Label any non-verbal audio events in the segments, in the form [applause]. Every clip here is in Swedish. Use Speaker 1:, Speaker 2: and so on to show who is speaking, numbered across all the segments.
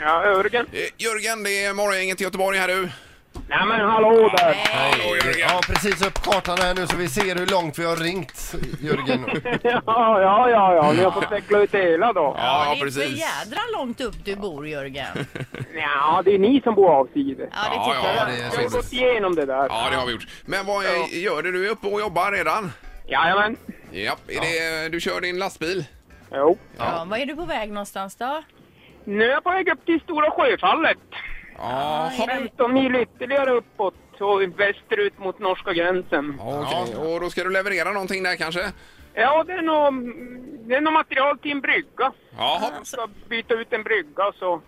Speaker 1: Ja, Jörgen.
Speaker 2: Eh, Jörgen, det är Morgongänget i Göteborg här du.
Speaker 1: Nej men hallå där!
Speaker 2: Hallå, Jörgen.
Speaker 3: Jag har precis upp kartan här nu så vi ser hur långt vi har ringt, [laughs] Jörgen.
Speaker 1: [laughs] Ja, ja, ja, ja. ni har fått veckla ut det hela då.
Speaker 2: Ja,
Speaker 4: det är för
Speaker 2: precis.
Speaker 4: jädra långt upp du
Speaker 2: [laughs]
Speaker 4: bor, Jörgen.
Speaker 1: Ja, det är ni som bor avsides.
Speaker 4: Ja,
Speaker 2: Ja,
Speaker 4: det tycker
Speaker 2: ja,
Speaker 4: jag.
Speaker 3: det är
Speaker 1: Jag har ju
Speaker 3: så.
Speaker 1: gått igenom det där.
Speaker 2: Ja, det har vi gjort. Men vad eh, gör du? Du är uppe och jobbar redan.
Speaker 1: Jajamän.
Speaker 2: Ja, är det, du kör din lastbil.
Speaker 1: Jo.
Speaker 4: Ja, var är du på väg någonstans då?
Speaker 1: Nu är jag på väg upp till Stora Sjöfallet.
Speaker 2: Ja,
Speaker 4: Är det-
Speaker 1: 15 mil ytterligare uppåt och västerut mot norska gränsen.
Speaker 2: okej. Och då ska du leverera någonting där kanske?
Speaker 1: Ja, det är nog, det är nog material till en brygga.
Speaker 2: Jaha.
Speaker 1: Jag ska byta ut en brygga så...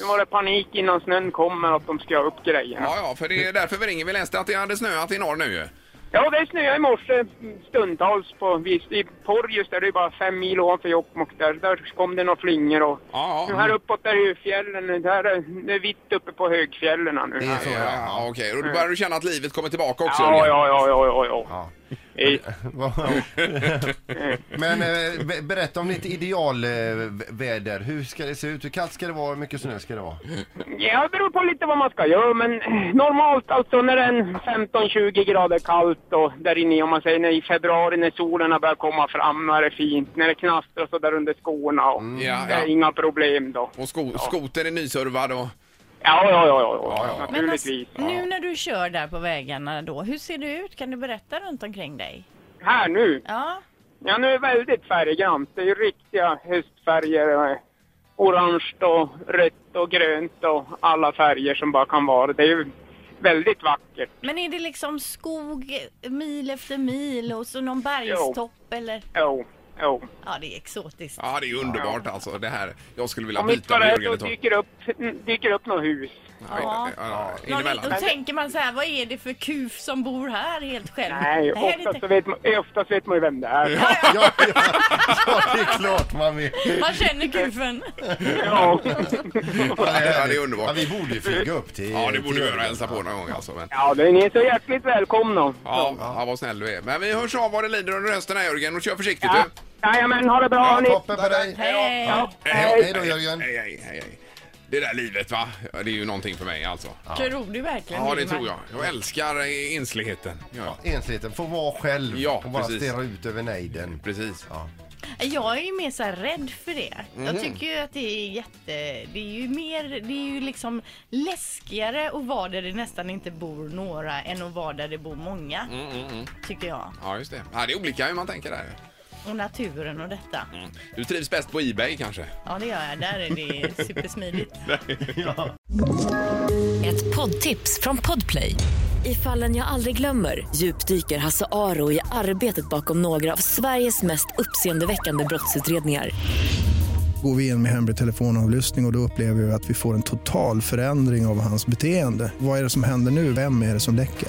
Speaker 1: Nu var det panik innan snön kommer att de ska ha upp grejerna.
Speaker 2: Ja, ja, för det är därför vi ringer. Vi läste att det hade snöat i norr nu ju.
Speaker 1: Ja, det snöade i morse stundtals på viss... I Porjus där det är bara fem mil ovanför Jokkmokk där, där kom det några flingor och...
Speaker 2: Ja,
Speaker 1: Nu
Speaker 2: ja.
Speaker 1: här uppåt där är ju fjällen, där är det är vitt uppe på högfjällen här nu.
Speaker 3: Det är så,
Speaker 2: Ja,
Speaker 3: ja.
Speaker 2: ja, Mm. okej. Och då börjar du känna att livet kommer tillbaka också?
Speaker 1: Ja,
Speaker 2: Jörgen.
Speaker 1: ja, ja, ja, ja, ja.
Speaker 3: Ja.
Speaker 1: Eh,
Speaker 3: Vad- Men eh, be- berätta om ditt idealväder. Hur ska det se ut? Hur kallt ska det vara? Hur mycket snö ska det [laughs] vara?
Speaker 1: Ja, det beror på lite vad man ska göra, men normalt alltså när det är en 15-20 grader kallt och där inne, om man säger när i februari när solen har börjat komma fram, när det är fint, när det knastrar och så där under skorna och
Speaker 2: ja,
Speaker 1: det är
Speaker 2: ja.
Speaker 1: inga problem då.
Speaker 2: Och sko skotern är nyservad och...
Speaker 1: Ja, ja, ja, ja, ja,
Speaker 2: ja.
Speaker 4: Men alltså,
Speaker 1: naturligtvis.
Speaker 4: nu när du kör där på vägarna då, hur ser det ut? Kan du berätta runt omkring dig?
Speaker 1: Här nu,
Speaker 4: Ja,
Speaker 1: ja nu är det väldigt färggrant, det är ju riktiga höstfärger. eh, Orange och rött och grönt och alla färger som bara kan vara. Det är ju väldigt vackert.
Speaker 4: men är det liksom skog mil efter mil och så någon bergstopp eller?
Speaker 1: Jo, jo.
Speaker 4: Ja, det är exotiskt.
Speaker 2: Ja, det är ju underbart alltså det här. Jag skulle vilja
Speaker 1: Om inte
Speaker 2: byta
Speaker 1: för
Speaker 2: med
Speaker 1: det
Speaker 2: Jörgen
Speaker 1: så
Speaker 2: ett tag.
Speaker 1: dyker upp, dyker upp något hus.
Speaker 2: Ja, ja,
Speaker 4: Ja, det-
Speaker 2: Inemellan.
Speaker 4: då tänker man så här, vad är det för kuf som bor här helt själv?
Speaker 1: Nej,
Speaker 4: Det här är
Speaker 1: oftast,
Speaker 4: lite-
Speaker 1: så vet man, eh, oftast vet man ju vem det är. Ja,
Speaker 3: Ja, ja, ja det är klart man vill.
Speaker 4: Man känner kufen.
Speaker 1: ja.
Speaker 2: Ja, det är underbart.
Speaker 3: Ja, vi borde ju flyga upp till...
Speaker 2: Ja, det borde
Speaker 3: till
Speaker 2: vi göra.
Speaker 3: Jörgen.
Speaker 2: Hälsa på någon gång alltså. Men, ja,
Speaker 1: ja det är ni är så hjärtligt välkomna.
Speaker 2: ja, vad snäll du är. Men vi hörs av vad det lider under hösten här Jörgen och kör försiktigt
Speaker 1: Ja.
Speaker 2: du.
Speaker 1: Jajamän, ha det bra
Speaker 3: Ja,
Speaker 1: hörni.
Speaker 3: toppen på dig.
Speaker 4: Hej!
Speaker 3: Hej hej då Jörgen.
Speaker 2: Hej, hej, hej, hej. Det där livet va, Ja, det är ju någonting för mig alltså.
Speaker 4: Tror du verkligen
Speaker 2: Ja, det
Speaker 4: Ingmar?
Speaker 2: tror jag. Jag älskar eh, ensligheten. Ja,
Speaker 3: Ensligheten, får vara själv
Speaker 2: Ja,
Speaker 3: och bara
Speaker 2: precis.
Speaker 3: stirra ut över nejden.
Speaker 2: precis.
Speaker 3: Ja.
Speaker 4: Jag är ju mer så här rädd för det. Jag tycker ju att det är jätte... Det är ju mer... Det är ju liksom läskigare att vara där det nästan inte bor några än att vara där det bor många. Tycker jag.
Speaker 2: Ja, just det. Ja, det är olika hur man tänker där.
Speaker 4: Och naturen och detta.
Speaker 2: Du trivs bäst på Ebay kanske?
Speaker 4: Ja, det gör jag. Där är det supersmidigt.
Speaker 5: Ett poddtips från Podplay. I fallen jag aldrig glömmer djupdyker Hasse Aro i arbetet bakom några av Sveriges mest uppseendeväckande brottsutredningar.
Speaker 6: Går vi in med hemlig telefonavlyssning och, och då upplever vi att vi får en total förändring av hans beteende. Vad är det som händer nu? Vem är det som läcker?